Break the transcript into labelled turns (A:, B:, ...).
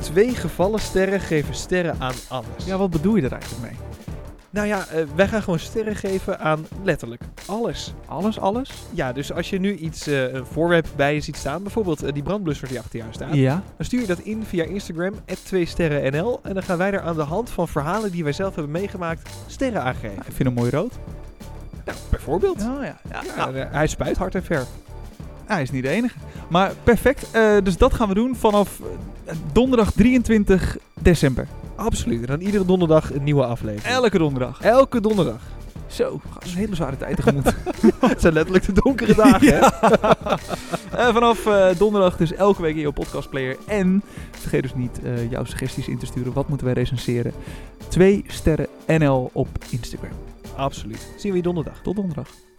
A: Twee gevallen sterren geven sterren aan alles.
B: Ja, wat bedoel je er eigenlijk mee?
A: Nou ja, eh, wij gaan gewoon sterren geven aan letterlijk alles.
B: Alles, alles?
A: Ja, dus als je nu iets, eh, een voorwerp bij je ziet staan, bijvoorbeeld eh, die brandblusser die achter jou staat,
B: Ja.
A: dan stuur je dat in via Instagram, 2sterrennl. En dan gaan wij er aan de hand van verhalen die wij zelf hebben meegemaakt, sterren aan geven.
B: Ik vind hem mooi rood.
A: Nou, bijvoorbeeld. Ja.
B: Oh ja. ja, nou,
A: en, eh, hij spuit hard en ver.
B: hij is niet de enige. Maar perfect. eh, dus dat gaan we doen vanaf eh, donderdag 23 december.
A: Absoluut. En dan iedere donderdag een nieuwe aflevering.
B: Elke donderdag.
A: Elke donderdag.
B: Zo, we gaan een hele zware tijd tegemoet.
A: Het zijn letterlijk de donkere dagen, hè?
B: Eh, vanaf eh, donderdag dus elke week in jouw podcastplayer. En vergeet dus niet eh, jouw suggesties in te sturen. Wat moeten wij recenseren? 2 sterren NL op Instagram.
A: Absoluut. Zien we je donderdag.
B: Tot donderdag.